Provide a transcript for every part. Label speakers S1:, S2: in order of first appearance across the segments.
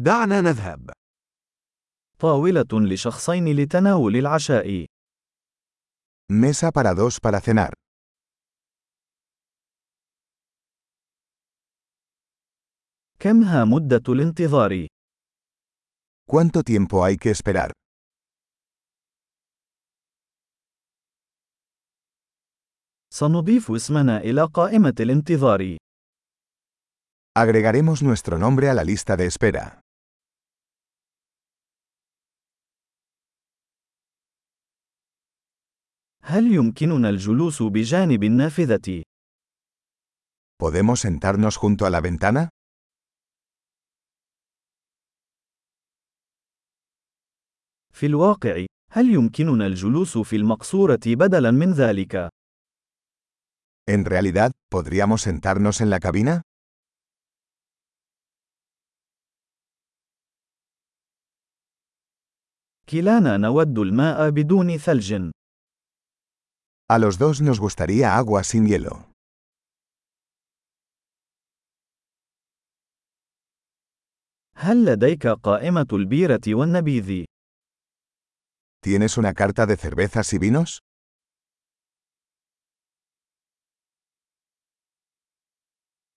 S1: دعنا نذهب.
S2: طاولة لشخصين لتناول العشاء.
S3: Mesa para dos para cenar.
S2: كم ها مدة الانتظار؟
S3: ¿Cuánto tiempo hay que esperar?
S2: سنضيف اسمنا إلى قائمة الانتظار.
S3: Agregaremos nuestro nombre a la lista de espera.
S2: هل يمكننا الجلوس بجانب النافذة؟
S3: ¿Podemos sentarnos junto a la ventana?
S2: في الواقع، هل يمكننا الجلوس في المقصورة بدلاً من ذلك؟
S3: En realidad, ¿podríamos sentarnos en la cabina?
S2: كلانا نود الماء بدون ثلج.
S3: A los dos nos gustaría agua sin hielo.
S2: هل لديك قائمة البيرة والنبيذ؟
S3: ¿Tienes una carta de cervezas y vinos?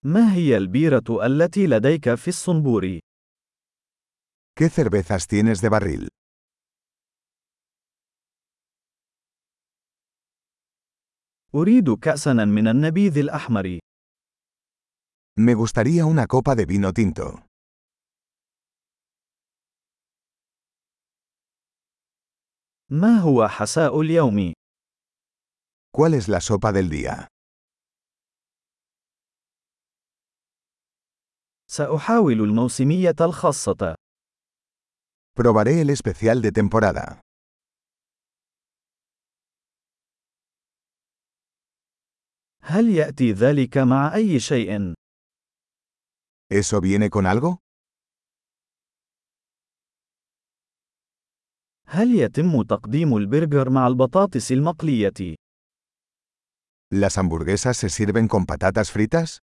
S2: ما هي البيرة التي لديك في الصنبور؟
S3: ¿Qué cervezas tienes de barril?
S2: أريد كأساً من النبيذ الأحمر.
S3: Me gustaría una copa de vino tinto.
S2: ما هو حساء اليوم؟
S3: ¿Cuál es la sopa del día?
S2: سأحاول الموسمية الخاصة.
S3: Probaré el especial de temporada.
S2: هل يأتي ذلك مع أي شيء؟
S3: ¿Eso viene con algo?
S2: هل يتم تقديم البرجر مع البطاطس المقلية؟
S3: ¿Las hamburguesas se sirven con patatas fritas?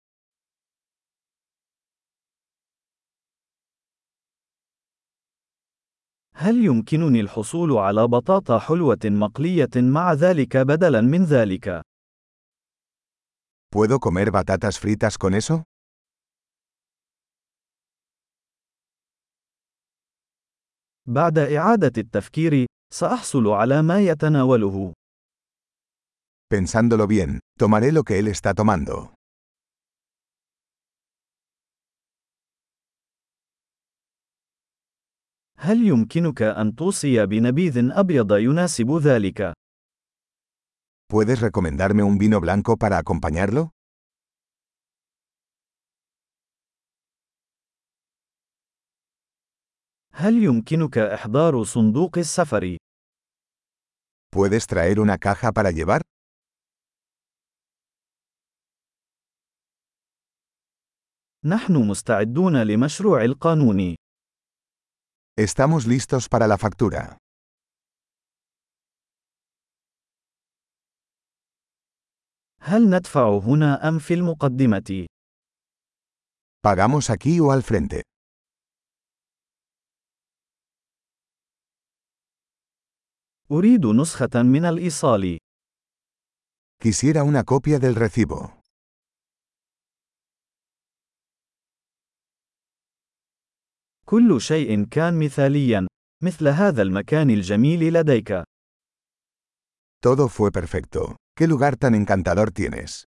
S2: هل يمكنني الحصول على بطاطا حلوة مقلية مع ذلك بدلاً من ذلك؟
S3: ¿Puedo comer batatas fritas con eso?
S2: بعد إعادة التفكير، سأحصل على ما يتناوله.
S3: Pensándolo bien, tomaré lo que él está tomando.
S2: هل يمكنك أن توصي بنبيذ أبيض يناسب ذلك؟
S3: ¿Puedes recomendarme un vino blanco para acompañarlo?
S2: هل يمكنك إحضار صندوق السفر؟
S3: ¿Puedes traer una caja para llevar?
S2: نحن مستعدون لمشروع القانون.
S3: Estamos listos para la factura.
S2: هل ندفع هنا أم في المقدمة؟
S3: ¿Pagamos aquí o al frente?
S2: أريد نسخة من الإيصال.
S3: Quisiera una copia del recibo.
S2: كل شيء كان مثاليا، مثل هذا المكان الجميل لديك.
S3: Todo fue perfecto. ¿Qué lugar tan encantador tienes?